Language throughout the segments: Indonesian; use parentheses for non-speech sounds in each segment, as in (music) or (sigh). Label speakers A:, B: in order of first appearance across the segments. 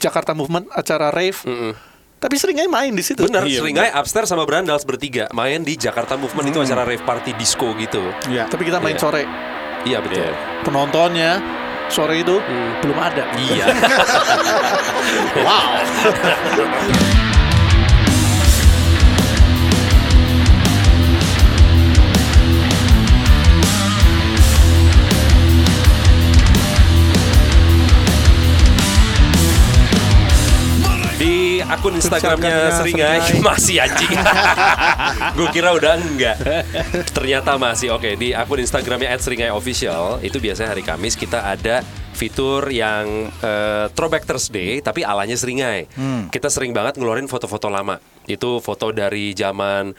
A: Jakarta Movement acara rave. Tapi seringnya main di situ.
B: Benar,
C: Iya,
B: sering aja upstairs sama Brandals bertiga main di Jakarta Movement itu acara rave party disco gitu.
C: Hmm. Iya.
A: Tapi kita main
B: Iya.
A: sore.
B: Iya betul.
C: Iya.
A: Penontonnya sore itu belum ada.
B: Iya. Di akun Instagramnya
A: Instagramnya
B: Seringai
A: Seringai.
B: (laughs) masih anjing. Gue kira udah enggak. Ternyata masih. Oke, di akun Instagramnya @seringai_official itu biasanya hari Kamis kita ada fitur yang eh, throwback Thursday tapi alanya Seringai. Kita sering banget ngeluarin foto-foto lama. Itu foto dari zaman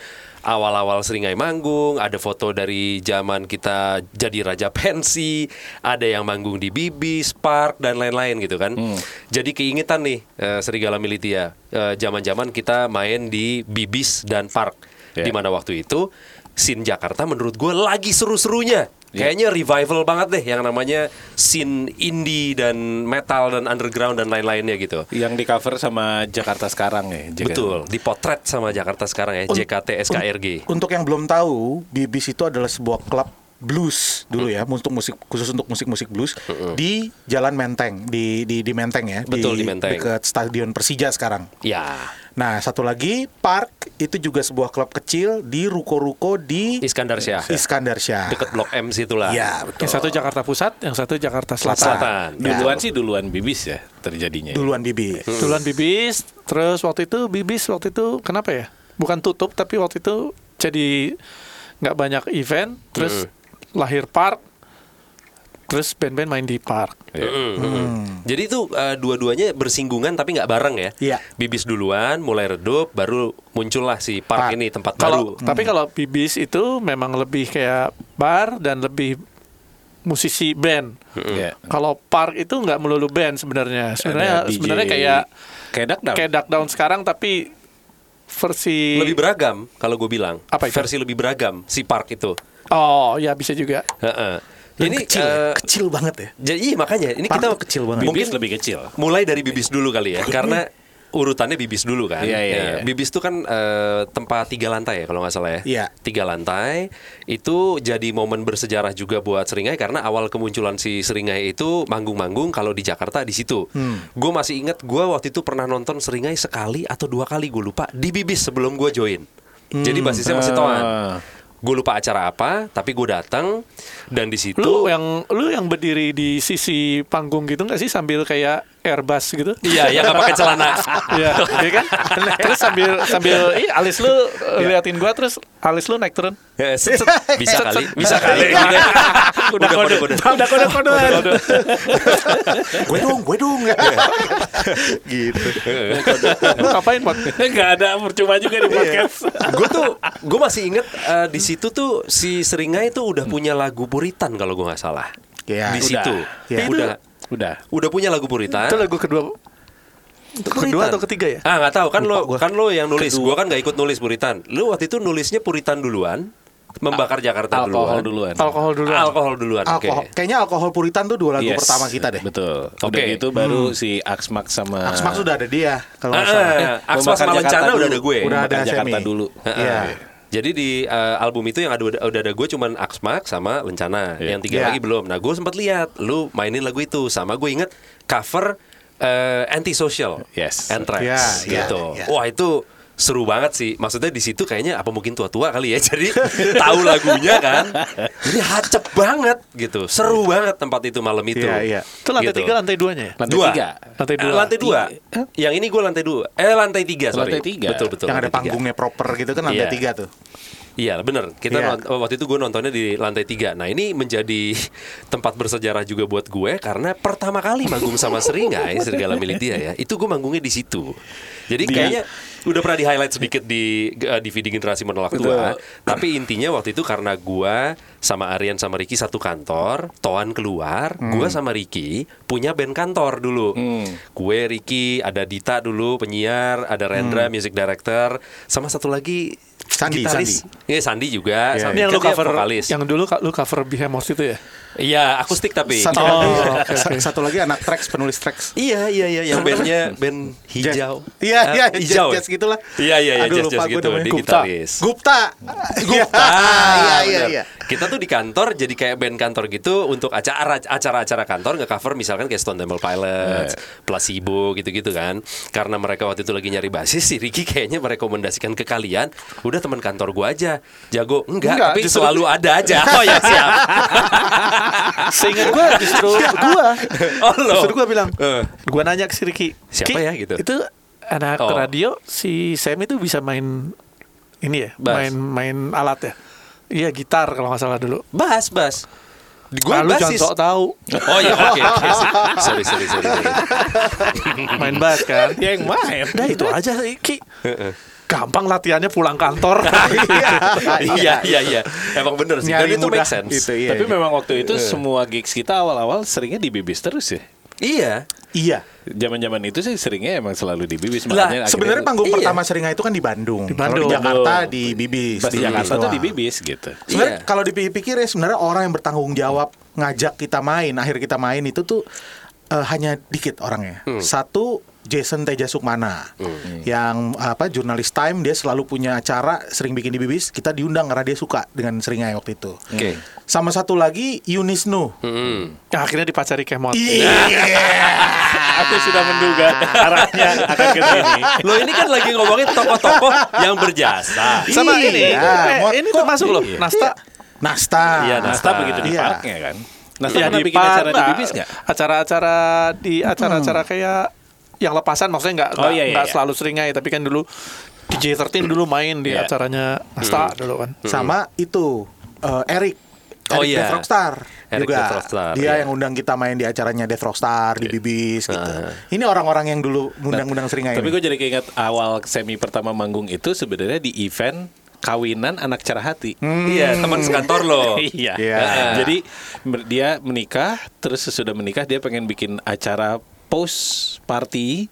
B: awal-awal Seringai manggung, ada foto dari zaman kita jadi raja pensi, ada yang manggung di Bibi, Spark dan lain-lain gitu kan.
D: Hmm.
B: Jadi keingetan nih eh, Serigala Militia eh, zaman-zaman kita main di Bibis dan Park.
C: Ya.
B: Di mana waktu itu scene Jakarta menurut gue lagi seru-serunya.
D: Ya.
B: Kayaknya revival banget deh yang namanya scene indie dan metal dan underground dan lain-lainnya gitu.
C: Yang di cover sama Jakarta sekarang ya. JKT.
B: Betul, dipotret sama Jakarta sekarang ya,
D: Iya kan? Un-
B: JKT SKRG.
D: un- Untuk yang belum tahu, Bibis itu adalah sebuah klub blues dulu ya, untuk musik khusus untuk musik-musik blues di Jalan Menteng, di di di Menteng ya,
B: Betul, di Menteng.
D: dekat Stadion Persija sekarang.
B: Ya,
D: Nah, satu lagi Park itu juga sebuah klub kecil di ruko-ruko di
B: Iskandar Syah.
D: Iskandar Syah.
B: deket Blok M situlah.
D: Iya, betul. Ya,
A: Yang satu Jakarta Pusat, yang satu Jakarta Selatan.
B: Selatan.
C: Duluan sih duluan bibis ya terjadinya. ya.
D: Duluan Bibis.
B: Mm. Hmm.
A: Duluan Bibis, terus waktu itu Bibis waktu itu kenapa ya? Bukan tutup tapi waktu itu jadi nggak banyak event,
B: Mm.
A: terus lahir Park, terus band-band main di Park.
C: Iya.
B: Jadi itu eh, dua-duanya bersinggungan tapi nggak bareng ya.
D: Iya.
B: Bibis duluan, mulai redup, baru muncullah si
D: Park.
B: park, ini tempat
A: Kalau
B: baru. Mm.
A: tapi kalau Bibis itu memang lebih kayak bar dan lebih musisi band.
B: Mm.
C: Iya.
A: Kalau Park itu nggak melulu band sebenarnya. Sebenarnya
C: Ada DJ.
A: sebenarnya kayak
C: kayak Duck Down. (laughs)
A: kayak Duck Down sekarang tapi versi
B: Hmm. Lebih beragam kalau gue bilang.
A: Apa itu?
B: Versi lebih beragam si park itu.
A: Oh, ya bisa juga.
B: Heeh.
D: Dan
B: Ini
D: kecil, ya,
B: eh,
D: kecil banget ya.
B: jadi iya, makanya ini
D: Park
B: kita
D: tuh kecil banget.
B: Mungkin
C: Bibis lebih kecil.
B: mulai dari bibis dulu kali ya karena urutannya bibis dulu kan.
C: Iya, iya,
B: Ya,
C: iya.
B: Bibis itu kan eh, tempat tiga lantai ya kalau nggak salah ya.
D: Iya.
B: Tiga lantai itu jadi momen bersejarah juga buat Seringai karena awal kemunculan si Seringai itu manggung-manggung kalau di Jakarta di situ.
C: Hmm.
B: Gue masih ingat gue waktu itu pernah nonton Seringai sekali atau dua kali gue lupa di Bibis sebelum gue join. Jadi basisnya masih toan.
C: Hmm, Ah.
B: Gue lupa acara apa, tapi gue datang dan di situ
A: Lu yang lu yang berdiri di sisi panggung gitu nggak sih sambil kayak airbus gitu?
B: Iya, yang nggak pakai celana.
A: Iya, (laughs) iya kan? Terus sambil sambil ih alis lu eh, liatin gua terus alis lu naik turun.
B: Ya, set, set. bisa kali, bisa kali. udah kode, kode.
A: Udah kode
C: (laughs)
A: kode.
D: gue dong, gue
B: (laughs)
D: dong.
B: Iya,
D: gitu.
A: Lu ngapain, Pak?
C: Enggak ada percuma juga
D: Iya.
C: di podcast.
B: Gue tuh, gue masih inget eh, di situ tuh si Seringai tuh udah punya lagu Puritan kalau gue nggak salah.
D: Ya,
B: di
D: udah.
B: situ, Iya.
D: Ya.
B: udah,
C: Udah.
B: udah punya lagu Puritan.
A: Itu lagu kedua. Kedua
B: Puritan.
A: atau ketiga ya?
B: Ah nggak tahu kan lo
D: Lupa gua.
B: kan lo yang nulis, gue kan nggak ikut nulis Puritan. Lo waktu itu nulisnya Puritan duluan, membakar Jakarta
C: Alkohol
B: duluan.
C: duluan.
A: Alkohol dulu.
B: Alkohol duluan, oke. Ah,
D: Alkohol. Kayaknya alkohol puritan tuh dua lagu
C: Yes,
D: pertama kita deh.
C: Betul. Oke.
B: Oke.
C: itu baru si Axmax sama
D: Axmax sudah ada dia kalau nggak
B: Ah,
D: salah.
B: ah. Axmax
C: Membakar
B: Malencana
C: Jakarta
B: udah
C: dulu.
B: ada gue.
D: Udah ada
C: Membakar Jakarta
D: Semi.
C: dulu.
D: Iya.
B: Jadi di eh, album itu yang ada udah ada gue cuman Axmax sama Lencana,
C: Iya.
B: yang tiga
D: Iya.
B: lagi belum. Nah gue sempat lihat lu mainin lagu itu sama gue inget cover anti Antisocial,
C: Yes.
B: Anthrax
D: Iya, iya,
B: gitu.
D: iya.
B: Wah itu seru banget sih. Maksudnya di situ kayaknya apa mungkin tua-tua kali ya. (laughs) Jadi tahu lagunya kan. Jadi hacep banget gitu. Seru banget tempat itu malam itu.
D: Iya, iya.
A: Itu lantai
B: Gitu.
A: tiga, lantai duanya ya?
C: Lantai
B: Dua.
C: tiga.
A: Lantai
B: Eh,
A: dua.
B: Lantai dua. Yang ini gue lantai dua. Eh lantai tiga. Sorry.
C: Lantai tiga.
B: Betul betul.
D: Iya. Yang ada
B: lantai tiga.
D: panggungnya proper gitu kan lantai
B: Iya.
D: tiga tuh.
B: Iya bener Kita
D: Iya.
B: nont- waktu itu gue nontonnya di lantai tiga. Nah ini menjadi (laughs) tempat bersejarah juga buat gue karena pertama kali manggung sama Seringai Serigala Militia ya. Itu gue manggungnya di situ. Jadi kayaknya udah pernah di highlight sedikit di eh, DVD generasi menolak tua. Tapi intinya waktu itu karena gue sama Aryan sama Riki satu kantor, Toan keluar,
D: Hmm.
B: gue sama Riki punya band kantor dulu. Gue Riki ada Dita dulu penyiar, ada Rendra music director, sama satu lagi
D: Hmm. Sandi,
B: Gitaris.
D: Sandi.
B: Iya, Sandi juga. Sandi
A: Ini yang
B: kan
A: lu
B: dia
A: cover
B: vokalis.
A: yang dulu ka- lu cover Behemoth itu ya?
B: Iya, akustik tapi.
D: Satu,
A: Oh,
D: lagi,
A: oke,
D: sa-
A: oke.
D: satu lagi anak tracks penulis tracks.
B: Iya, iya, iya. Yang bandnya band hijau.
D: Jazz. Iya,
B: Eh,
D: iya,
B: hijau.
D: jazz, jazz gitulah.
B: Iya, iya, iya,
D: Aduh,
B: jazz,
D: lupa
B: jazz
D: gue
B: gitu.
D: namanya.
B: Dia
A: Gupta.
B: gitaris.
D: Gupta.
B: Gupta. Ah,
D: Iya, iya,
B: bener.
D: iya.
B: Kita tuh di kantor jadi kayak band kantor gitu untuk acara acara-acara kantor nge-cover misalkan kayak Stone Temple
D: Iya.
B: Pilots, Placebo gitu-gitu kan. Karena mereka waktu itu lagi nyari basis, si Ricky kayaknya merekomendasikan ke kalian, udah teman kantor gua aja. Jago enggak,
A: Enggak,
B: tapi
A: justru-
B: selalu ada
D: (laughs)
B: aja. Oh ya siap.
A: Seingat gue justru gue
B: (laughs) Oh, lo.
A: Justru gue bilang
B: Eh.
A: Gue nanya ke si Ricky
B: Siapa
A: "Ki,
B: ya?" gitu.
A: Itu anak
B: Oh.
A: radio Si Sam itu bisa main Ini ya
B: Bass.
A: Main main alat ya Iya gitar kalau nggak salah dulu
B: Bas, bas. Di
A: Gua
B: gua
A: Lalu
B: basis.
A: Jontok tahu
B: Oh iya, oke. (laughs) oke. Sorry, sorry, sorry. sorry.
A: main bass
B: (laughs)
A: kan.
C: Ya, yang main.
A: Udah itu aja Ki. Gampang latihannya pulang kantor.
B: (laughs) Iya, iya, iya. Emang bener sih. Dan
D: Nyari
B: itu
D: mudah
B: make sense.
D: gitu, iya,
C: Tapi
D: iya.
C: memang waktu itu semua gigs kita awal-awal seringnya di bibis terus ya.
B: Iya.
D: Iya.
C: Zaman-zaman itu sih seringnya emang selalu di bibis.
B: Lah,
C: makanya akhirnya-
D: Sebenarnya panggung
B: Iya.
D: pertama seringa itu kan di Bandung. Di Kalau
A: Bandung.
D: di Jakarta di Bibis.
C: pas di Jakarta tuh
D: doang.
C: di bibis gitu.
D: Sebenarnya
B: Iya.
D: kalau dipikir-pikir ya sebenarnya orang yang bertanggung jawab ngajak kita main, akhir kita main itu tuh eh, hanya dikit orangnya.
B: Hmm.
D: Satu Jason Teja Sukmana yang apa jurnalis Time dia selalu punya acara sering bikin di Bibis kita diundang karena dia suka dengan seringai waktu itu.
B: Oke.
D: Sama satu lagi Yunis Nuh.
B: Hmm.
A: Yang akhirnya dipacari Kemot.
B: Iya, (laughs)
D: Iya.
C: Aku sudah menduga (laughs) arahnya akan ke sini.
B: Lo ini kan lagi ngomongin tokoh-tokoh yang berjasa.
A: Sama ini.
D: Iya,
A: eh,
D: Mot,
A: ini
D: kok-
A: termasuk loh.
D: Iya.
A: Nasta.
D: Nasta.
B: Iya, Nasta.
C: Nasta begitu di
D: Iya.
C: parknya kan.
B: Nah,
C: Nasta
A: Ya,
C: pernah
A: di
C: bikin acara di
A: Parma.
C: bibis nggak? Hmm.
A: Acara-acara di acara-acara kayak yang lepasan maksudnya nggak
C: Oh,
A: nggak-
C: iya, iya,
A: nggak
C: iya.
A: selalu seringai tapi kan dulu DJ 13 dulu main di
C: Iya.
A: acaranya Nasta dulu kan.
D: sama itu eh, Eric
B: Hmm. Oh,
D: Eric
B: iya.
D: Death Rockstar
B: Eric
D: juga
B: Death Rockstar,
D: dia
B: iya.
D: yang undang kita main di acaranya Death Rockstar di Bibis gitu
B: Ah.
D: ini orang-orang yang dulu
B: Nah,
D: ngundang-ngundang seringai
C: Tapi
D: ini.
C: gue jadi keinget awal semi pertama manggung itu sebenarnya di event kawinan anak cerah hati.
B: Iya, teman sekantor lo. (laughs)
C: Iya.
D: Iya.
C: Nah, Jadi mer- dia menikah, terus sesudah menikah dia pengen bikin acara post party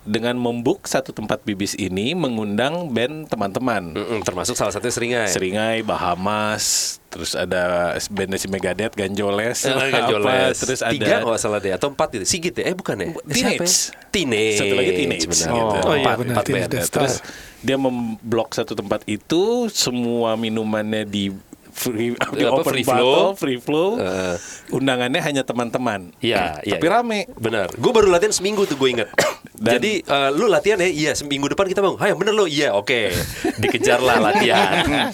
C: dengan membook satu tempat bibis ini mengundang band teman-teman.
B: Mm-mm, termasuk salah satunya seringai.
C: Seringai, Bahamas, terus ada bandnya si Megadeth, Ganjoles,
B: Eh,
C: apa,
B: Ganjoles.
C: terus ada
B: tiga kalau nggak salah deh atau empat gitu. Sigit ya? Eh bukan ya? Eh, siapa
C: Teenage.
B: ya? Teenage.
C: Satu lagi teenage
B: Benar,
C: gitu.
B: gitu.
A: Oh, iya,
B: Empat-
A: benar,
B: empat
A: teenage.
B: band.
C: Nah, terus dia memblok satu tempat itu semua minumannya di free di
B: Apa,
C: open
B: free
C: bottle,
B: flow?
C: free flow.
B: Eh.
C: Undangannya hanya teman-teman.
B: Iya, iya.
C: Tapi rame.
B: Benar. Gue baru latihan seminggu tuh gue inget.
C: (coughs) Dan-
B: Jadi eh, lu latihan ya? Iya, seminggu depan kita mau. Ayo bener lu. Iya,
C: (laughs)
B: oke. Dikejarlah latihan.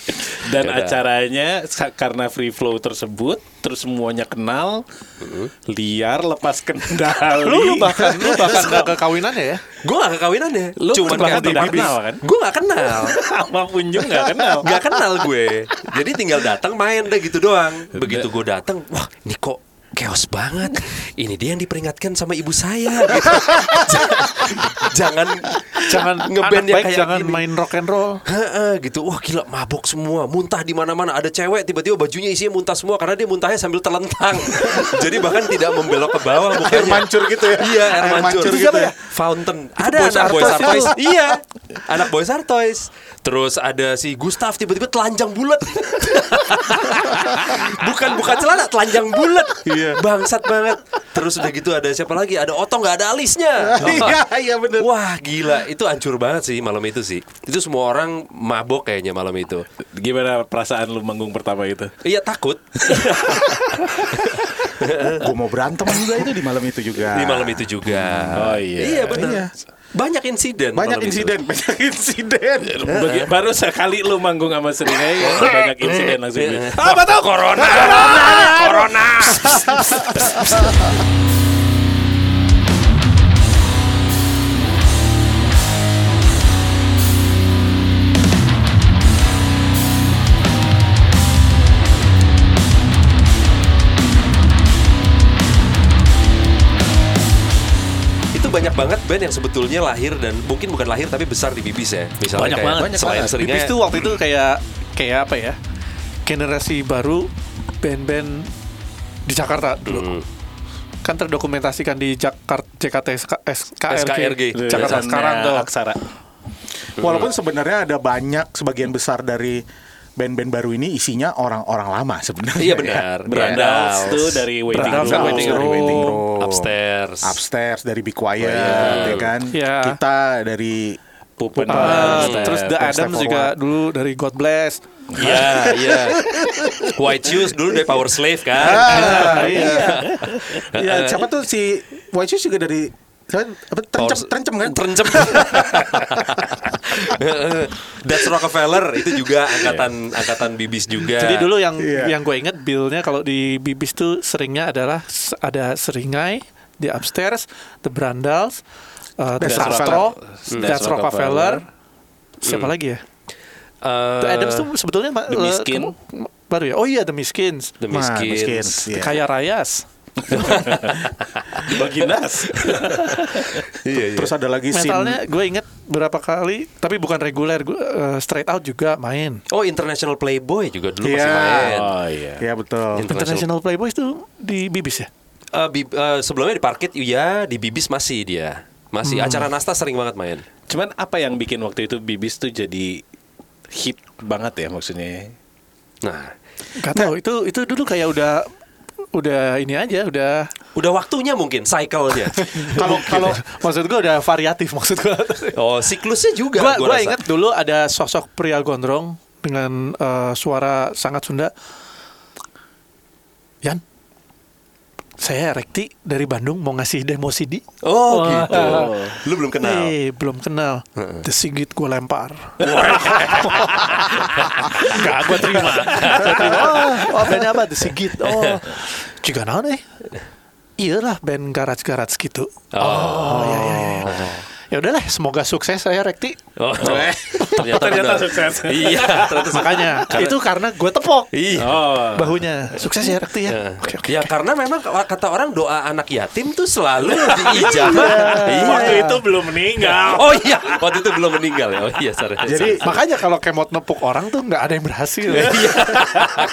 C: Dan
B: Yaudah.
C: acaranya sa- karena free flow tersebut terus semuanya kenal
B: Mm-hmm.
C: liar lepas
B: (laughs)
C: kendali.
A: Lu, lu bahkan lu bahkan nggak ke kawinannya ya?
B: Gue gak kekawinannya
C: Lu
B: Cuman
C: bahkan
B: kayak
C: tidak
B: di bibis.
C: kenal, kan?
B: Gue gak kenal
C: sama pun juga (laughs) nggak
B: (laughs)
C: kenal.
B: Gak kenal gue Jadi tinggal datang main deh gitu doang Begitu gue datang Wah ini kok chaos banget Ini dia yang diperingatkan sama ibu saya
C: (laughs)
B: gitu. (laughs) (laughs) Jangan
A: Jangan anak
B: ngeband yang
A: baik
B: kayak
A: jangan
B: gini.
A: main rock and roll.
B: Heeh, gitu wah gila mabok semua muntah di mana mana ada cewek tiba-tiba bajunya isinya muntah semua karena dia muntahnya sambil terlentang
D: (laughs)
B: jadi bahkan tidak membelok ke bawah mukanya.
D: Air mancur gitu ya?
B: iya air,
D: Air
B: mancur,
D: mancur
B: Itu
D: gitu
B: siapa
D: ya?
B: fountain ada anak boy
D: Boy Sartois
B: sartois
D: itu.
B: iya anak boy sartois terus ada si Gustaf tiba-tiba telanjang bulat (laughs) bukan bukan celana telanjang bulat
D: Iya.
B: bangsat banget terus udah gitu ada siapa lagi ada otong nggak ada alisnya
D: (laughs)
B: (laughs)
D: iya iya bener
B: Wah gila itu hancur banget sih malam itu sih Itu semua orang mabok kayaknya malam itu
C: Gimana perasaan lu manggung pertama itu?
B: Iya takut (laughs)
D: gue mau berantem juga itu di malam itu juga
B: di malam itu juga
C: Oh, iya.
B: Iya bener
D: Iya.
B: Banyak insiden
D: banyak
B: malam itu. Iya.
D: insiden (laughs) banyak insiden
C: Bagi- baru sekali lu manggung sama Seringai udah banyak insiden langsung gitu.
B: Apa tuh corona Corona Itu banyak banget band yang sebetulnya lahir dan mungkin bukan lahir tapi besar di bibis ya. Misalnya
C: Banyak
B: kayak
C: banget.
B: selain
A: Bibis
B: Seringai-
A: tuh waktu itu kayak kayak apa ya? Generasi baru band-band di Jakarta
C: Hmm.
A: dulu. Kan terdokumentasikan di Jakarta JKT SKRG,
B: SKRG.
A: Jakarta
C: Tulisannya
A: sekarang tuh.
C: Aksara.
D: Walaupun sebenarnya ada banyak sebagian besar dari band-band baru ini isinya orang-orang lama sebenarnya.
B: Iya
D: ya.
B: benar.
C: Brandals tuh dari waiting room.
D: Brandals dari
B: waiting
D: Dari
B: room,
D: waiting room.
B: upstairs.
D: Upstairs dari Be Quiet, ya kan?
A: Iya.
D: Kita dari
C: Pupen
A: Ah,
C: Brandals.
A: terus The
D: Step
A: Adams juga dulu dari God Bless.
B: Iya, iya. White Shoes dulu dari Power Slave kan.
D: Ah, iya. Iya,
C: Eh,
D: siapa tuh si White Shoes juga dari siapa? apa trencem,
B: Power-
D: trencem kan?
B: Trencem. (laughs) That's Rockefeller itu juga angkatan angkatan bibis juga.
A: Jadi dulu yang
D: Iya.
A: yang gue inget billnya kalau di Bibis tuh seringnya adalah s- ada Seringai, di Upstairs, The Brandals, uh, The
D: That's
A: Astro,
C: Rockefeller.
A: That's
C: Hmm.
A: Rockefeller, siapa lagi ya?
B: Eh,
A: The Adams tuh sebetulnya ma-
C: The
A: eh,
C: Miskin.
A: kamu- baru ya. Oh iya The Miskins,
B: The
D: Nah,
B: Miskins.
D: Miskins, iya.
A: The Kaya Rayas,
C: Baginas.
D: Terus ada lagi sin
A: mentalnya gue inget berapa kali, tapi bukan reguler, gue eh, straight out juga main.
B: (laughs) Oh, International Playboy juga dulu
D: Iya.
B: masih main.
C: Oh iya.
D: Ya betul.
A: International Playboys tuh di Bibis ya.
B: Eh, bi- eh, sebelumnya di parkit ya, di bibis masih dia. Masih
A: Hmm.
B: acara Nasta sering banget main.
C: Cuman apa yang bikin waktu itu Bibis tuh jadi hit banget ya maksudnya?
B: Nah,
A: Gak tau itu itu dulu kayak udah udah ini aja udah
B: udah waktunya mungkin cycle-nya.
A: (laughs) kalau kalau maksud gua udah variatif maksud gua.
B: oh, siklusnya juga
A: (laughs) gua
B: gua
A: gua
B: rasa.
A: ingat dulu ada sosok pria gondrong dengan eh, suara sangat Sunda. Yan, saya Rekti dari Bandung mau ngasih demo CD.
B: Oh,
A: Wah.
B: gitu. Lu belum kenal.
A: Eh, belum kenal. The Sigit gue lempar.
C: Gak gue terima.
A: oh, oh, bandnya apa? The Sigit.
B: (laughs)
A: Oh, juga naon eh? Iya lah band garaj-garaj gitu.
B: Oh.
A: Oh, ya, ya, ya. Ya udahlah, semoga sukses saya Rekti.
B: (laughs) Oh. ternyata,
C: Ternyata
B: benar.
C: sukses.
B: Iya, ternyata sukses. (laughs)
A: Makanya itu karena gue tepok
B: Iya.
C: Oh.
A: bahunya. Sukses ya Rekti ya. Oke, oke.
B: Ya karena memang kata orang doa anak yatim tuh selalu diijabah.
A: Iya.
B: Iya.
C: Waktu itu belum meninggal.
B: Oh iya, waktu itu belum meninggal ya. Oh iya, sorry.
D: Jadi-
B: Sorry.
A: Makanya kalau kemot nepuk orang tuh nggak ada yang berhasil. (laughs)
B: Iya.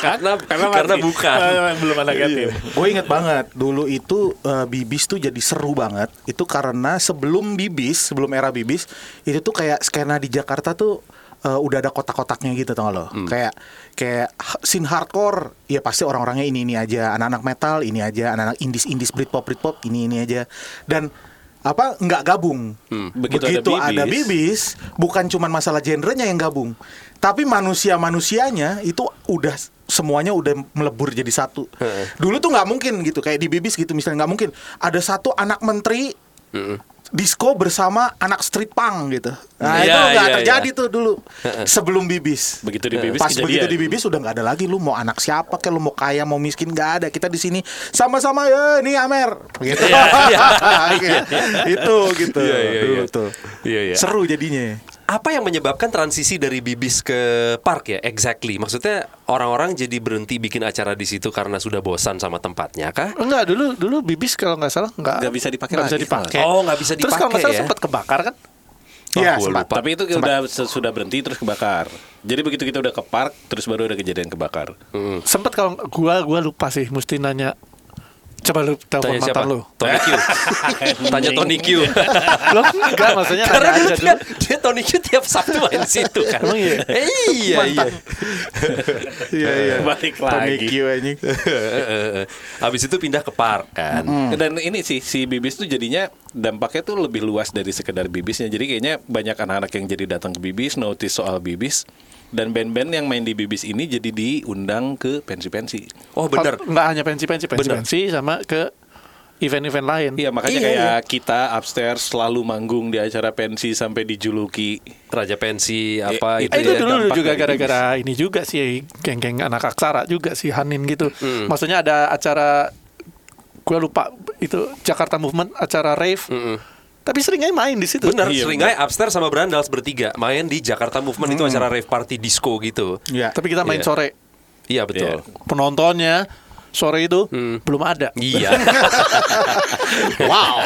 B: karena (laughs) karena,
C: (laughs)
B: bukan.
C: belum ada ganti.
D: Gue inget banget dulu itu eh, Bibis tuh jadi seru banget. Itu karena sebelum Bibis, sebelum era Bibis, itu tuh kayak skena di Jakarta tuh eh, udah ada kotak-kotaknya gitu tau lo.
C: Hmm.
D: Kayak kayak h- scene hardcore, ya pasti orang-orangnya ini ini aja, anak-anak metal ini aja, anak-anak indies indies Britpop Britpop ini ini aja. Dan apa nggak gabung
C: Hmm. Begitu
D: begitu,
C: ada
D: ada,
C: Bibis.
D: bibis bukan cuman masalah genrenya yang gabung tapi manusia manusianya itu udah semuanya udah melebur jadi satu dulu tuh nggak mungkin gitu kayak di bibis gitu misalnya nggak mungkin ada satu anak menteri disco bersama anak street punk gitu nah
B: Iya,
D: itu nggak
B: iya,
D: terjadi
B: iya.
D: tuh dulu sebelum bibis
C: Begitu di Bibis
D: pas
C: kejadian.
D: begitu di bibis udah nggak ada lagi lu mau anak siapa kayak lu mau kaya mau miskin nggak ada kita di sini sama-sama ya nih Amer gitu (laughs) itu gitu
B: Iya, iya,
D: dulu
B: iya.
D: tuh
B: Iya, iya.
D: seru jadinya
B: Apa yang menyebabkan transisi dari bibis ke park ya? Exactly. Maksudnya orang-orang jadi berhenti bikin acara di situ karena sudah bosan sama tempatnya kah?
A: Enggak dulu dulu bibis kalau nggak salah nggak
C: Nggak bisa dipakai
A: nggak bisa
C: lagi.
A: dipakai.
B: Oh, nggak bisa
A: Terus kalau nggak
B: dipakai
A: salah
B: ya?
A: sempat kebakar kan?
D: Iya,
B: gua
D: sempat.
B: lupa.
C: Tapi itu udah sudah berhenti terus kebakar. Jadi begitu kita udah ke park terus baru ada kejadian kebakar.
B: Hmm.
A: Sempat kalau gua gua lupa sih mesti nanya coba lu telepon
B: Tanya siapa?
A: mantan lu.
B: Tony Q. Tanya Tony Q.
A: Loh, enggak maksudnya ada
B: (laughs) Karena dulu
A: aja
B: dia,
A: dulu.
B: dia Tony Q tiap Sabtu main di situ kan.
A: Emang iya?
B: Eh, iya, iya.
D: iya iya
C: (laughs) Balik
D: Tony
C: lagi.
D: Q
B: (laughs)
D: anjing
B: Eh, eh, eh. Habis itu pindah ke park kan.
D: Hmm.
C: Dan ini sih si Bibis tuh jadinya dampaknya tuh lebih luas dari sekedar Bibisnya. Jadi kayaknya banyak anak-anak yang jadi datang ke Bibis, notice soal Bibis dan band-band yang main di Bibis ini jadi diundang ke pensi-pensi.
B: Oh, bener.
A: Kalau Nggak hanya pensi-pensi, pensi-pensi sama ke event-event lain.
C: Iya makanya
B: Iya,
C: kayak kita upstairs selalu manggung di acara pensi sampai dijuluki
B: Raja pensi apa
C: Eh,
A: Eh, itu
B: ya,
A: dulu
B: dampak
A: juga
B: dari
A: gara-gara ini juga sih geng-geng anak aksara juga si Hanin gitu.
B: Hmm.
A: Maksudnya ada acara gue lupa itu Jakarta Movement acara rave. Tapi seringnya main di situ.
B: Hmm. Bener,
C: Iya,
B: sering aja upstairs sama Brandals bertiga main di Jakarta Movement itu acara rave party disco gitu.
D: Iya.
A: Tapi kita main
B: Iya.
A: sore.
B: Iya betul.
A: Penontonnya sore itu belum ada.
B: Iya.
D: wow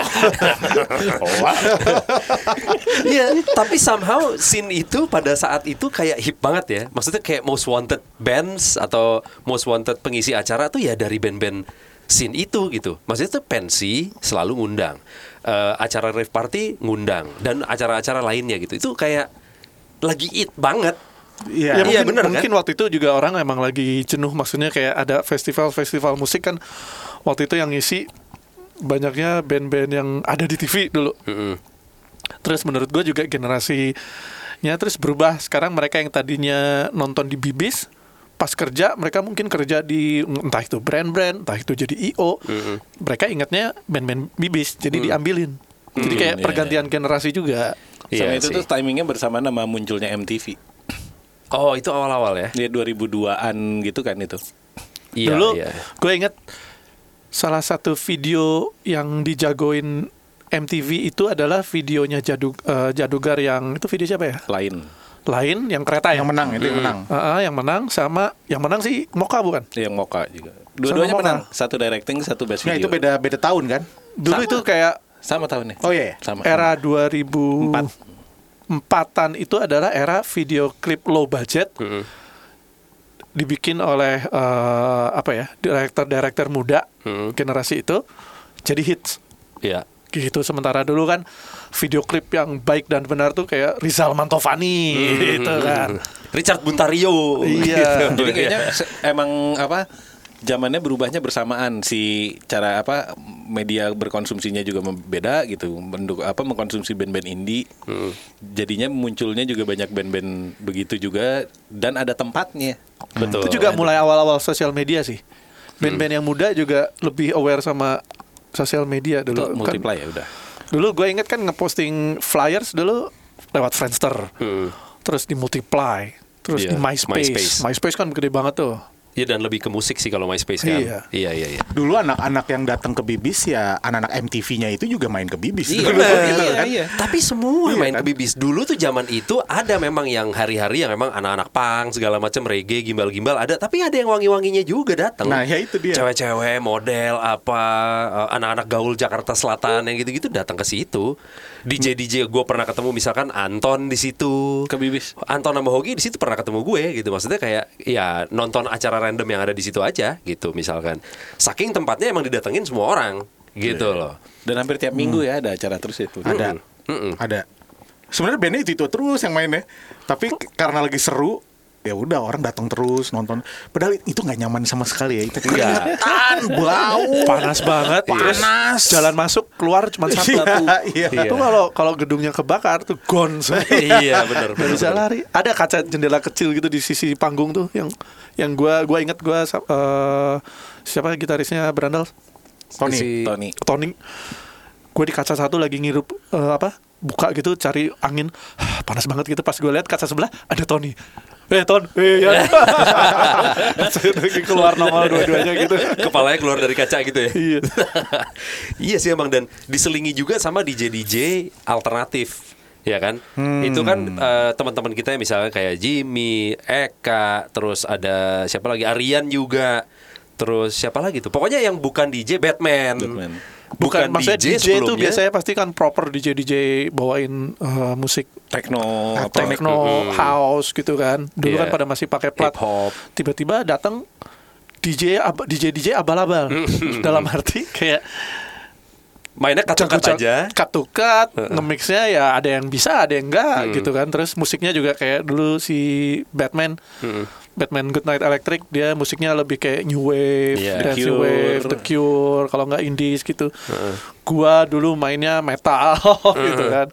B: Iya, tapi somehow scene itu pada saat itu kayak hip banget ya. Maksudnya kayak most wanted bands atau most wanted pengisi acara tuh ya dari band-band scene itu gitu. Maksudnya tuh pensi selalu ngundang. Eh, acara rave party ngundang dan acara-acara lainnya gitu. Itu kayak lagi it banget.
A: Ya,
B: Iya,
D: Iya.
A: mungkin,
B: bener, kan?
A: mungkin waktu itu juga orang emang lagi jenuh maksudnya kayak ada festival-festival musik kan waktu itu yang ngisi banyaknya band-band yang ada di TV dulu. Terus menurut gue juga generasinya terus berubah. Sekarang mereka yang tadinya nonton di Bibis pas kerja mereka mungkin kerja di entah itu brand-brand, entah itu jadi IO.
B: Mm-hmm.
A: Mereka ingatnya band-band Bibis
B: Mm.
A: jadi diambilin. Jadi
C: Mm,
A: kayak
C: iya,
A: pergantian generasi juga.
C: Sama
B: Iya
C: itu
B: sih.
C: tuh timingnya bersamaan sama munculnya MTV.
B: Oh, itu awal-awal ya.
C: Dia 2002-an gitu kan itu.
B: Iya,
A: Dulu
B: iya.
A: gue inget salah satu video yang dijagoin MTV itu adalah videonya jadu, eh, jadugar yang itu video siapa ya?
C: Lain.
A: Lain yang kereta ya?
D: (laughs) Yang menang itu yang menang.
A: Ah, ah, yang menang sama yang menang sih Moka bukan?
C: Yang Moka juga. Dua-duanya
D: Sama Moka.
C: menang. Satu directing, satu best
D: Nah,
B: Iya.
C: video.
D: itu beda beda tahun kan?
A: Dulu itu kayak
C: Sama tahunnya.
D: Oh, iya, iya.
C: Sama.
A: era 2004 empatan itu adalah era video klip low budget dibikin oleh eh, apa ya director-director muda generasi itu jadi hits.
B: Iya.
A: gitu sementara dulu kan video klip yang baik dan benar tuh kayak Rizal Mantovani
D: Hmm.
A: gitu kan
B: Richard Buntario.
A: Iya.
B: Gitu.
C: Jadi kayaknya se- emang apa zamannya berubahnya bersamaan si cara apa media berkonsumsinya juga mem- beda gitu menduk apa mengkonsumsi band-band indie
A: Hmm.
C: jadinya munculnya juga banyak band-band begitu juga dan ada tempatnya
B: (laughs) Betul.
A: itu
D: Oh,
A: juga
D: iya.
A: mulai awal-awal sosial media sih
D: Hmm.
A: band-band yang muda juga lebih aware sama sosial media
C: Tuh,
A: dulu Kan-
C: multiply ya udah
A: dulu gue inget kan ngeposting flyers dulu lewat Friendster
D: Hmm.
A: terus di Multiply terus
B: Iya,
A: di MySpace.
B: MySpace.
A: MySpace kan gede banget tuh
B: Iya dan lebih ke musik sih kalau MySpace kan.
A: Iya.
B: iya, iya. iya.
D: Dulu anak-anak yang datang ke Bibis ya anak-anak MTV-nya itu juga main ke Bibis.
C: Iya,
D: Dulu
C: bener.
D: gitu kan.
C: Iya.
B: Tapi semua main ke bibis dulu tuh zaman itu ada memang yang hari-hari yang memang anak-anak pang segala macam reggae gimbal-gimbal ada tapi ada yang wangi-wanginya juga datang.
D: Nah, ya itu dia.
B: Cewek-cewek model apa eh, anak-anak gaul Jakarta Selatan yang gitu-gitu datang ke situ. DJ DJ gue pernah ketemu misalkan Anton di situ.
C: Ke Bibis.
B: Anton sama Hogi di situ pernah ketemu gue gitu maksudnya kayak ya nonton acara random yang ada di situ aja gitu misalkan. Saking tempatnya emang didatengin semua orang gitu loh.
C: dan hampir tiap
A: Hmm.
C: minggu ya ada acara terus itu
D: Ada. Ada. Sebenarnya bandnya itu, itu terus yang mainnya. Tapi k- karena lagi seru, ya udah orang datang terus nonton. Padahal itu nggak nyaman sama sekali ya. Itu
B: Iya.
D: keringetan, bau,
A: panas banget terus
D: panas.
A: jalan masuk keluar cuma satu
D: (laughs) Iya, iya.
A: itu kalau kalau gedungnya kebakar tuh gons
D: (laughs)
B: iya benar.
A: Gak bisa lari. Ada kaca jendela kecil gitu di sisi panggung tuh yang yang gua gua ingat gua sa- eh, siapa gitarisnya Berandal
D: Tony.
B: Si-
C: Tony
A: Tony. Gue di kaca satu lagi ngirup eh, apa? Buka gitu cari angin. Panas banget gitu pas gue lihat kaca sebelah ada Tony. Eh Ton, eh ya. keluar nongol dua-duanya gitu.
B: Kepalanya keluar dari kaca gitu ya.
A: Iya.
B: (laughs) iya sih emang dan diselingi juga sama DJ DJ alternatif. Ya kan,
A: Hmm.
B: itu kan eh, teman-teman kita yang misalnya kayak Jimmy, Eka, terus ada siapa lagi Aryan juga, terus siapa lagi tuh, pokoknya yang bukan DJ Batman,
C: Batman.
A: Bukan, maksudnya DJ, itu
B: sebelumnya.
A: biasanya pasti kan proper DJ DJ bawain eh, musik eh,
C: techno
A: Ah,
C: apa
A: techno house gitu kan. Dulu kan
B: Iya.
A: pada masih pakai plat.
B: Hip-hop.
A: Tiba-tiba datang DJ ab, DJ DJ
B: (laughs)
A: abal-abal. Dalam arti kayak
B: mainnya kacang aja.
A: katukat, nge-mixnya ya ada yang bisa, ada yang
B: Hmm.
A: enggak gitu kan. Terus musiknya juga kayak dulu si Batman
B: Hmm.
A: Batman Good Night Electric dia musiknya lebih kayak new wave,
B: Iya.
A: dance
C: Cure.
A: wave, The Cure, kalau nggak indies gitu. Gua dulu mainnya metal (laughs) gitu kan.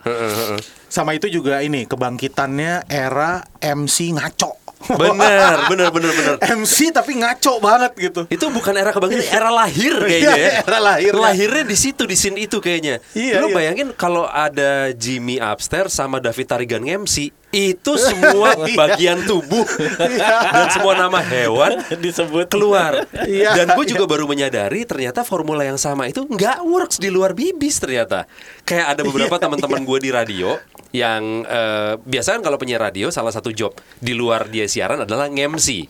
D: Sama itu juga ini kebangkitannya era MC ngaco. (laughs)
B: Bener, bener, bener, bener. Iya
D: MC tapi ngaco banget gitu. (laughs)
B: Itu bukan era kebangkitan, era lahir kayaknya. ya.
D: Iya, era lahir.
B: Lahirnya di situ di scene itu kayaknya.
D: Iya,
B: Lu
D: iya.
B: bayangin kalau ada Jimmy upstairs sama David Tarigan MC, itu semua
D: (laughs) Iya.
B: bagian tubuh dan semua nama
D: (laughs)
B: hewan
C: disebut
B: keluar.
D: Iya,
B: dan gue juga baru menyadari ternyata formula yang sama itu nggak works di luar bibis ternyata. Kayak ada beberapa teman-teman gue di radio yang eh, biasanya kan kalau penyiar radio salah satu job di luar dia siaran adalah ngemsi.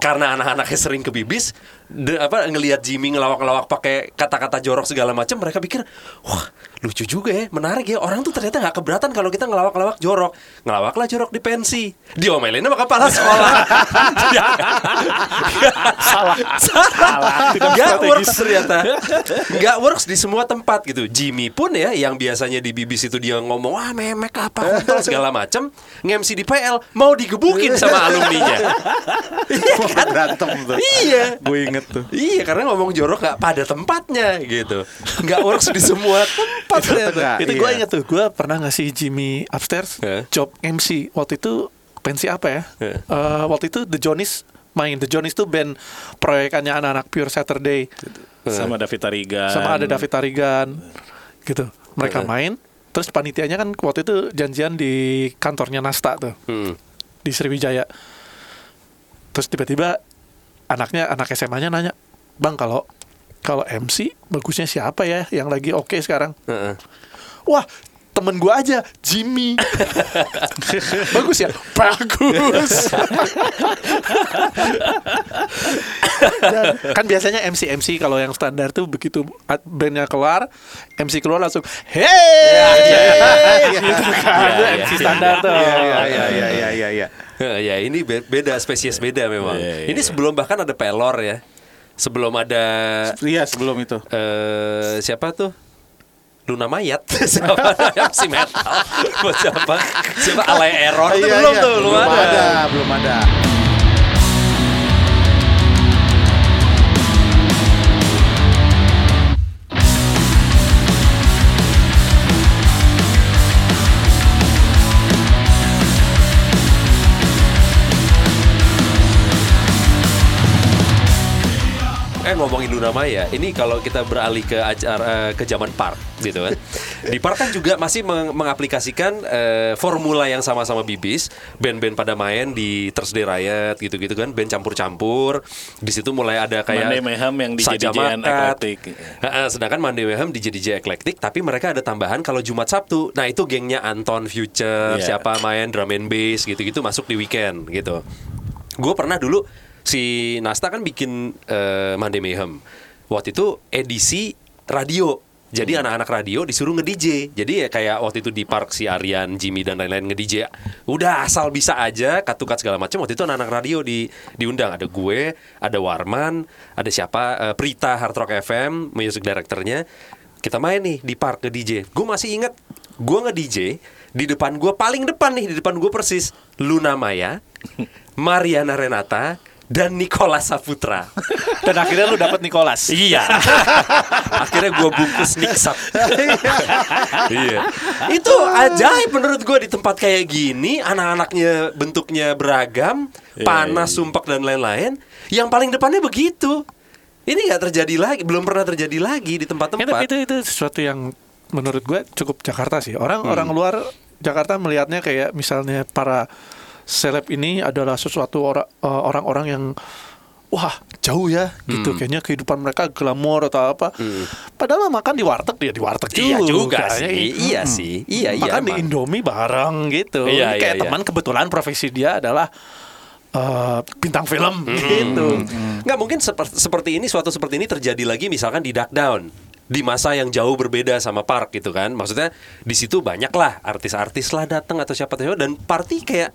B: Karena anak-anaknya sering ke bibis, de- apa ngelihat Jimmy ngelawak-ngelawak pakai kata-kata jorok segala macam mereka pikir wah lucu juga ya menarik ya orang tuh ternyata nggak keberatan kalau kita ngelawak-ngelawak jorok ngelawaklah jorok di pensi diomelinnya sama kepala (laughs) sekolah Iya. salah salah kan nggak works ternyata nggak works di semua tempat gitu Jimmy pun ya yang biasanya di BBC itu dia ngomong wah memek apa kontol, segala macam ngemsi di PL mau digebukin sama alumninya
D: berantem tuh.
B: kan? iya
D: Gue inget tuh.
B: Iya karena ngomong jorok nggak pada tempatnya gitu Nggak works di semua tempat
D: Itu
B: ternyata.
D: enggak.
A: itu gue
D: iya.
A: inget tuh gue pernah ngasih Jimmy upstairs
B: Eh.
A: job MC waktu itu pensi apa ya
D: Iya.
B: Eh.
A: Eh, waktu itu The Johnnies main The Johnnies tuh band proyekannya anak-anak Pure Saturday
C: sama David Ah, Tarigan
A: sama ada David Tarigan gitu mereka
D: Iya.
A: main terus panitianya kan waktu itu janjian di kantornya Nasta tuh
B: Hmm.
A: di Sriwijaya. Terus tiba-tiba anaknya anak SMA-nya nanya, "Bang, kalau kalau MC bagusnya siapa ya yang lagi oke sekarang?"
B: Heeh.
A: Wah, temen gua aja, Jimmy. Bagus ya? Bagus. Dan kan biasanya MC MC kalau yang standar tuh begitu at- bandnya kelar, MC keluar langsung, hey, gitu kan,
B: Iya,
A: Itu
B: iya,
A: MC
B: iya.
A: standar tuh.
C: ya.
D: Iya iya iya iya iya. iya.
B: Eh, (laughs) ya ini be- beda spesies beda memang.
C: Iya, iya.
B: Ini sebelum bahkan ada pelor ya. Sebelum ada
D: Iya sebelum itu.
B: eh siapa tuh? Luna Mayat (laughs) siapa yang si metal Buat siapa siapa alay error Oh, itu
D: Iya,
B: belum
D: iya.
B: tuh belum, ada.
D: belum ada.
B: Eh ngomongin Luna Maya, ini kalau kita beralih ke acara eh, ke zaman park gitu
C: (laughs)
B: kan. Di park kan juga masih meng- mengaplikasikan eh, formula yang sama-sama bibis, band-band pada main di Thursday Riot gitu-gitu kan, band campur-campur. Di situ mulai ada kayak
C: Monday Mayhem yang di
B: Saja
C: JDJN
B: Makat.
C: Eclectic.
B: Heeh, sedangkan Monday Mayhem di JDJ Eclectic, tapi mereka ada tambahan kalau Jumat Sabtu. Nah, itu gengnya Anton Future,
C: Iya.
B: siapa main drum and bass gitu-gitu masuk di weekend gitu. Gue pernah dulu si Nasta kan bikin eh, Monday Mayhem. Waktu itu edisi radio. Jadi anak-anak radio disuruh nge-DJ. Jadi ya kayak waktu itu di park si Aryan, Jimmy dan lain-lain nge-DJ. Udah asal bisa aja katukat segala macam. Waktu itu anak-anak radio di diundang ada gue, ada Warman, ada siapa eh, Prita Hard Rock FM, music directornya. Kita main nih di park nge-DJ. Gue masih inget gue nge-DJ di depan gue paling depan nih di depan gue persis Luna Maya Mariana Renata dan Nicolas Saputra.
A: (laughs) Dan akhirnya lu dapet Nicholas.
B: Iya. (laughs) Akhirnya gue bungkus niksat. iya. Itu ajaib menurut gue di tempat kayak gini, anak-anaknya bentuknya beragam, panas, sumpak dan lain-lain. Yang paling depannya begitu. Ini nggak terjadi lagi, belum pernah terjadi lagi
A: Ya,
B: di
A: tapi
B: tempat-tempat.
A: itu itu sesuatu yang menurut gue cukup Jakarta sih. Orang
B: Hmm.
A: orang luar Jakarta melihatnya kayak misalnya para seleb ini adalah sesuatu ora- eh, orang-orang yang wah jauh ya gitu
B: Hmm.
A: kayaknya kehidupan mereka glamor atau apa. Padahal mah makan di warteg dia di warteg
B: Iya juga
A: kayaknya.
B: sih,
C: gitu.
B: iya
C: Hmm.
B: sih, iya iya.
A: makan di
B: emang.
A: Indomie bareng gitu.
B: Iya,
A: Ini
B: iya,
A: kayak
B: iya.
A: teman kebetulan profesi dia adalah eh, bintang film
B: Hmm.
A: gitu.
C: Hmm.
B: Nggak mungkin seper- seperti ini suatu seperti ini terjadi lagi misalkan di Duck Down di masa yang jauh berbeda sama Park gitu kan. Maksudnya di situ banyaklah artis-artis lah datang atau siapa tahu dan party kayak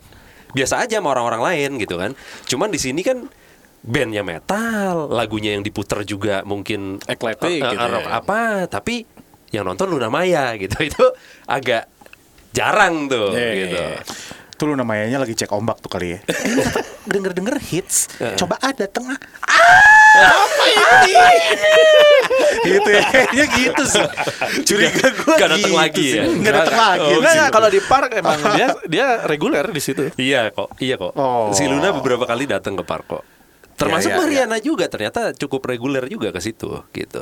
B: biasa aja sama orang-orang lain gitu kan. Cuman di sini kan bandnya metal, lagunya yang diputar juga mungkin eh,
C: Eclectic
B: eh,
C: gitu ya.
B: rock apa, tapi yang nonton Luna Maya gitu. (laughs) Itu agak jarang tuh
C: Iya, iya,
B: gitu.
C: iya.
D: Itu lu namanya lagi cek ombak tuh
B: (laughs)
D: kali ya. Denger denger hits. Coba ada tengah. Ah, apa ini? gitu ya, kayaknya gitu sih. Curiga gitu gue
B: Nggak datang lagi ya?
D: Gak datang
B: Nggak
D: lagi.
A: Enggak,
B: gitu.
A: enggak, kalau di park
B: (laughs)
A: emang dia dia reguler di situ.
B: Iya kok, iya kok.
D: Oh.
B: Si Luna beberapa kali datang ke Parko. Termasuk
D: Iya, iya,
B: Mariana juga ternyata cukup reguler juga ke situ gitu.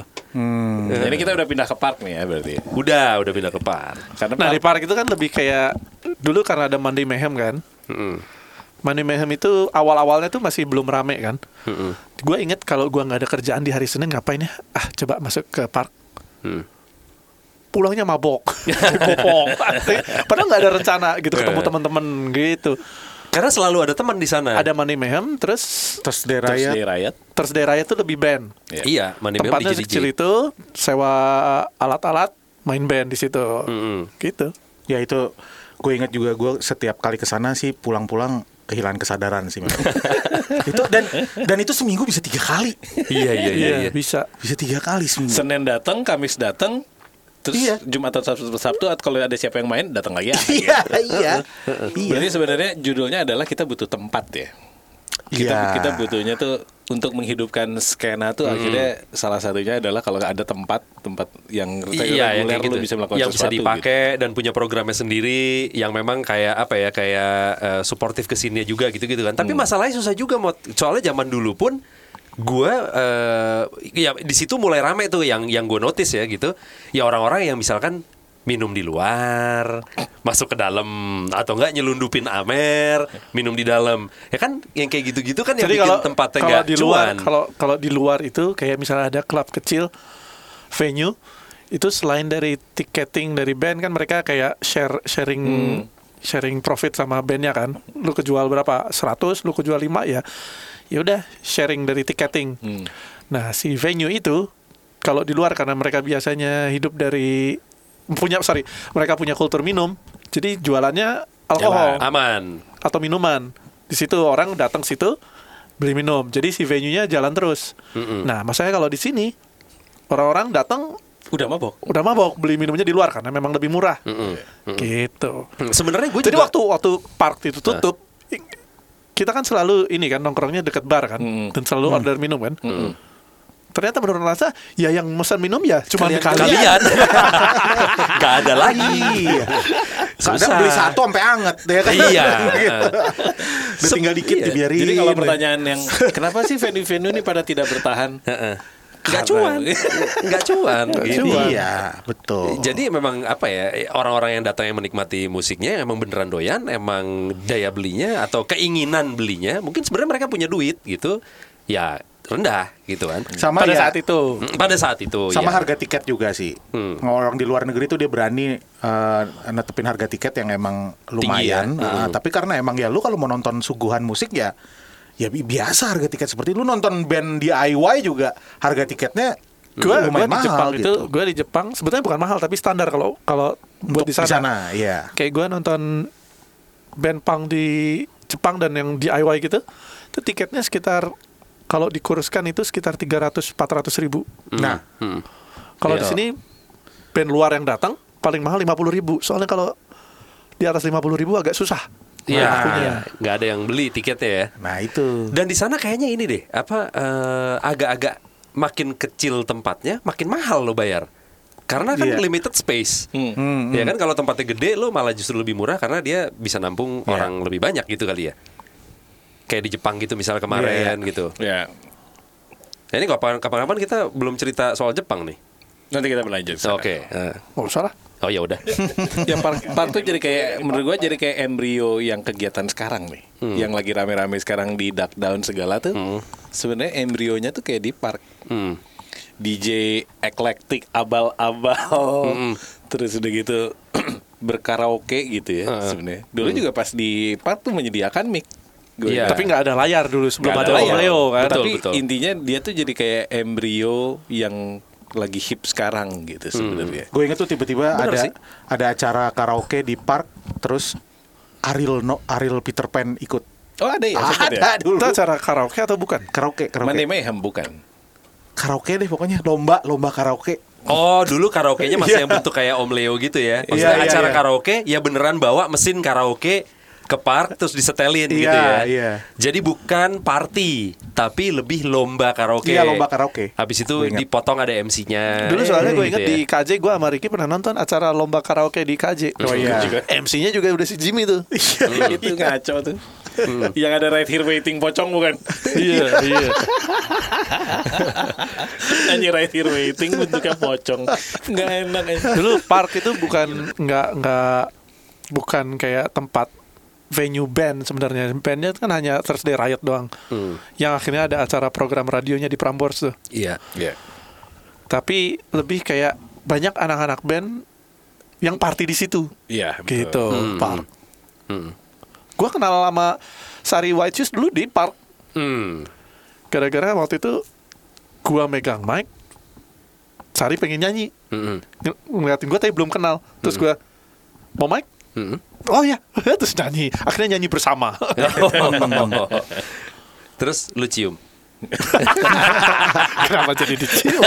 C: Jadi kita udah pindah ke park nih ya berarti.
B: Udah, udah pindah ke Park.
C: Karena
A: Nah di park
C: park,
A: itu kan lebih kayak dulu karena ada Monday Mayhem kan.
B: Mm-mm.
A: Monday Mayhem itu awal-awalnya tuh masih belum rame kan. Gue inget kalau gua nggak ada kerjaan di hari Senin ngapain ya? Ah coba masuk ke park.
B: Hmm.
A: Pulangnya (laughs)
B: Iya.
A: mabok, popong. Padahal nggak ada rencana gitu ketemu teman-teman gitu.
B: Karena selalu ada teman di sana.
A: Ada Money Mayhem, terus
D: Thursday
C: Terus
D: Riot.
C: di Riot.
A: Thursday Raya itu lebih band.
C: Iya.
B: Iya, Money Mayhem
A: Tempatnya
B: di JJJ.
A: kecil itu sewa alat-alat main band di situ.
B: Mm-mm.
A: Gitu.
D: Ya itu gue ingat juga gue setiap kali ke sana sih pulang-pulang kehilangan kesadaran sih
B: (laughs)
D: memang. itu dan dan itu seminggu bisa tiga kali.
B: Iya, iya, iya. iya.
A: bisa.
D: Bisa tiga kali seminggu.
C: Senin datang, Kamis datang, terus
D: Iya.
C: Jumat atau Sabtu, Sabtu atau kalau ada siapa yang main datang lagi. ya. Gitu.
D: Iya, iya.
C: Berarti sebenarnya judulnya adalah kita butuh tempat ya. Kita,
D: Iya.
C: kita butuhnya tuh untuk menghidupkan skena tuh
B: Hmm.
C: akhirnya salah satunya adalah kalau ada tempat tempat yang
B: Iya, yang
C: reguler
B: kayak gitu.
C: lu bisa melakukan
B: yang bisa
C: sesuatu
B: dipakai
A: gitu.
B: dan punya programnya sendiri yang memang kayak apa ya kayak eh, suportif kesini juga gitu-gitu kan.
A: Hmm.
B: Tapi masalahnya susah juga Mot. Soalnya zaman dulu pun gue eh ya di situ mulai rame tuh yang yang gue notice ya gitu. Ya orang-orang yang misalkan minum di luar, (coughs) masuk ke dalam atau enggak nyelundupin amer, minum di dalam. Ya kan yang kayak gitu-gitu kan yang
A: Jadi
B: bikin
A: kalau
B: tempatnya
A: kalau
B: enggak
A: di luar
B: cuan. Ya
A: kalau kalau di luar itu kayak misalnya ada klub kecil venue itu selain dari tiketing dari band kan mereka kayak share sharing
B: Hmm.
A: sharing profit sama bandnya kan. Lu kejual berapa? 100, lu kejual 5 ya. Ya udah sharing dari tiketing.
B: Hmm.
A: Nah, si venue itu kalau di luar karena mereka biasanya hidup dari punya sorry mereka punya kultur minum jadi jualannya alkohol
B: kan? Aman.
A: atau minuman. Di situ orang datang situ beli minum. Jadi si venue-nya jalan terus. Nah, masalahnya kalau di sini orang-orang datang
C: Udah mabok.
A: udah mabok beli minumnya di luar karena memang lebih murah.
D: Iya.
A: Gitu.
B: Hmm, Sebenarnya gue
A: Jadi
B: juga
A: waktu waktu park itu tutup i- kita kan selalu ini kan nongkrongnya deket bar kan
C: Mm.
A: dan selalu order minum kan. Ternyata menurut rasa ya yang pesan minum ya cuma kalian.
B: kalian (laughs) nggak ada lagi
D: Iya. Kadang
B: Susah.
D: beli satu sampai anget ya kan.
B: Iya.
D: Gitu. (laughs) Udah tinggal dikit
B: Iya.
D: dibiarin.
C: Jadi kalau pertanyaan yang kenapa sih venue-venue ini pada tidak
D: (laughs)
C: bertahan?
B: nggak
C: Karena-
B: cuan Iya. nggak cuan gitu.
D: Iya, betul.
B: jadi memang apa ya orang-orang yang datang yang menikmati musiknya yang emang beneran doyan emang daya belinya atau keinginan belinya mungkin sebenarnya mereka punya duit gitu ya rendah gitu kan
D: sama
A: Pada
D: ya,
A: saat itu
B: Mm, pada saat itu ya.
D: sama harga tiket juga sih. Orang di luar negeri tuh dia berani eh, netepin harga tiket yang emang lumayan.
B: Tinggi ya.
D: Ah, tapi karena emang ya lu kalau mau nonton suguhan musik ya ya bi- biasa harga tiket seperti lu nonton band DIY juga harga tiketnya
A: gue gue Hmm. di
D: lumayan mahal
A: Jepang
D: gitu.
A: itu gue di Jepang sebetulnya bukan mahal tapi standar kalau kalau buat di
D: Untuk
A: sana
D: iya.
A: kayak gue nonton band punk di Jepang dan yang DIY gitu itu tiketnya sekitar kalau dikurskan itu sekitar 300-400 ribu
D: Nah,
B: Hmm.
A: kalau
B: Iya.
A: di sini band luar yang datang paling mahal 50 ribu soalnya kalau di atas 50 ribu agak susah Nah,
B: Iya,
A: punya.
B: nggak ada yang beli tiketnya ya.
D: nah itu.
B: Dan di sana kayaknya ini deh, apa eh, agak-agak makin kecil tempatnya, makin mahal lo bayar. Karena kan
D: Iya.
B: limited space.
D: Hmm,
B: Ya kan kalau tempatnya gede lo malah justru lebih murah karena dia bisa nampung
D: Iya.
B: orang lebih banyak gitu kali ya. Kayak di Jepang gitu misalnya kemarin
D: Iya.
B: gitu.
C: Ya.
B: Nah, ini kapan- kapan-kapan kita belum cerita soal Jepang nih.
C: Nanti kita berlanjut.
B: Oke. eh,
A: oh salah
B: Oh ya
D: (laughs)
B: udah.
C: yang part, part tuh jadi kayak menurut gua jadi kayak embrio yang kegiatan sekarang nih
B: Hmm.
C: yang lagi rame-rame sekarang di duck down segala tuh sebenarnya embrionya tuh kayak di park
B: Hmm.
C: DJ eklektik abal-abal
B: Hmm.
C: terus udah gitu (clears throat) berkaraoke gitu ya sebenarnya dulu juga pas di park tuh menyediakan mic Gua
B: Iya.
C: ingat.
A: tapi nggak ada layar dulu sebelum
C: Nggak
A: ada
C: layar.
A: Omleo kan
C: Tapi
B: Betul, betul.
C: intinya dia tuh jadi kayak embrio yang lagi hip sekarang gitu
B: Hmm.
C: sebenarnya.
D: Gue inget tuh tiba-tiba
B: Bener
D: ada
B: sih.
D: ada acara karaoke di park terus Ariel no, Ariel Peter Pan ikut.
C: Oh ada
B: Ah,
C: ya? sempet ya?
D: ada dulu.
A: itu acara karaoke atau bukan
D: Karaoke, karaoke.
C: Money Mayhem bukan?
D: Karaoke deh pokoknya lomba lomba karaoke.
B: Oh, dulu karaoke-nya masih yang bentuk kayak Om Leo gitu ya. Maksudnya
D: Iya, iya,
B: acara
D: iya.
B: karaoke ya beneran bawa mesin karaoke ke park terus disetelin
D: Iya,
B: gitu ya.
D: iya.
B: Jadi bukan party, tapi lebih lomba karaoke.
D: Iya, lomba karaoke.
B: Habis itu
D: Gue ingat.
B: dipotong ada MC-nya.
A: Dulu soalnya gue
B: Gitu
A: inget
B: ya.
A: di KJ gue sama Ricky pernah nonton acara lomba karaoke di KJ.
D: Oh, iya.
A: MC-nya juga udah si Jimmy tuh.
C: (laughs)
A: Iya.
C: itu ngaco tuh. Yang ada right here waiting pocong bukan?
A: Hmm.
C: (laughs)
A: iya, iya.
C: Nyanyi right here waiting bentuknya pocong. Nggak enak aja.
A: Dulu park itu bukan nggak nggak bukan kayak tempat venue band sebenarnya. Bandnya kan hanya Thursday Riot doang. Yang akhirnya ada acara program radionya di Prambors tuh.
B: Iya.
A: Tapi lebih kayak banyak anak-anak band yang party di situ.
C: Iya.
A: Gitu, park. Gua kenal sama Sari White Shoes dulu di park.
B: Hmm.
A: Gara-gara waktu itu gua megang mic, Sari pengen nyanyi.
D: (laughs)
B: Mm-mm.
A: Ng- ngeliatin gua tapi belum kenal. Terus gua mau mic?
B: Mm-mm.
A: Oh ya, (laughs) terus nyanyi. Akhirnya nyanyi bersama. (laughs)
B: Oh. (laughs) Terus lu cium.
A: Kenapa jadi dicium?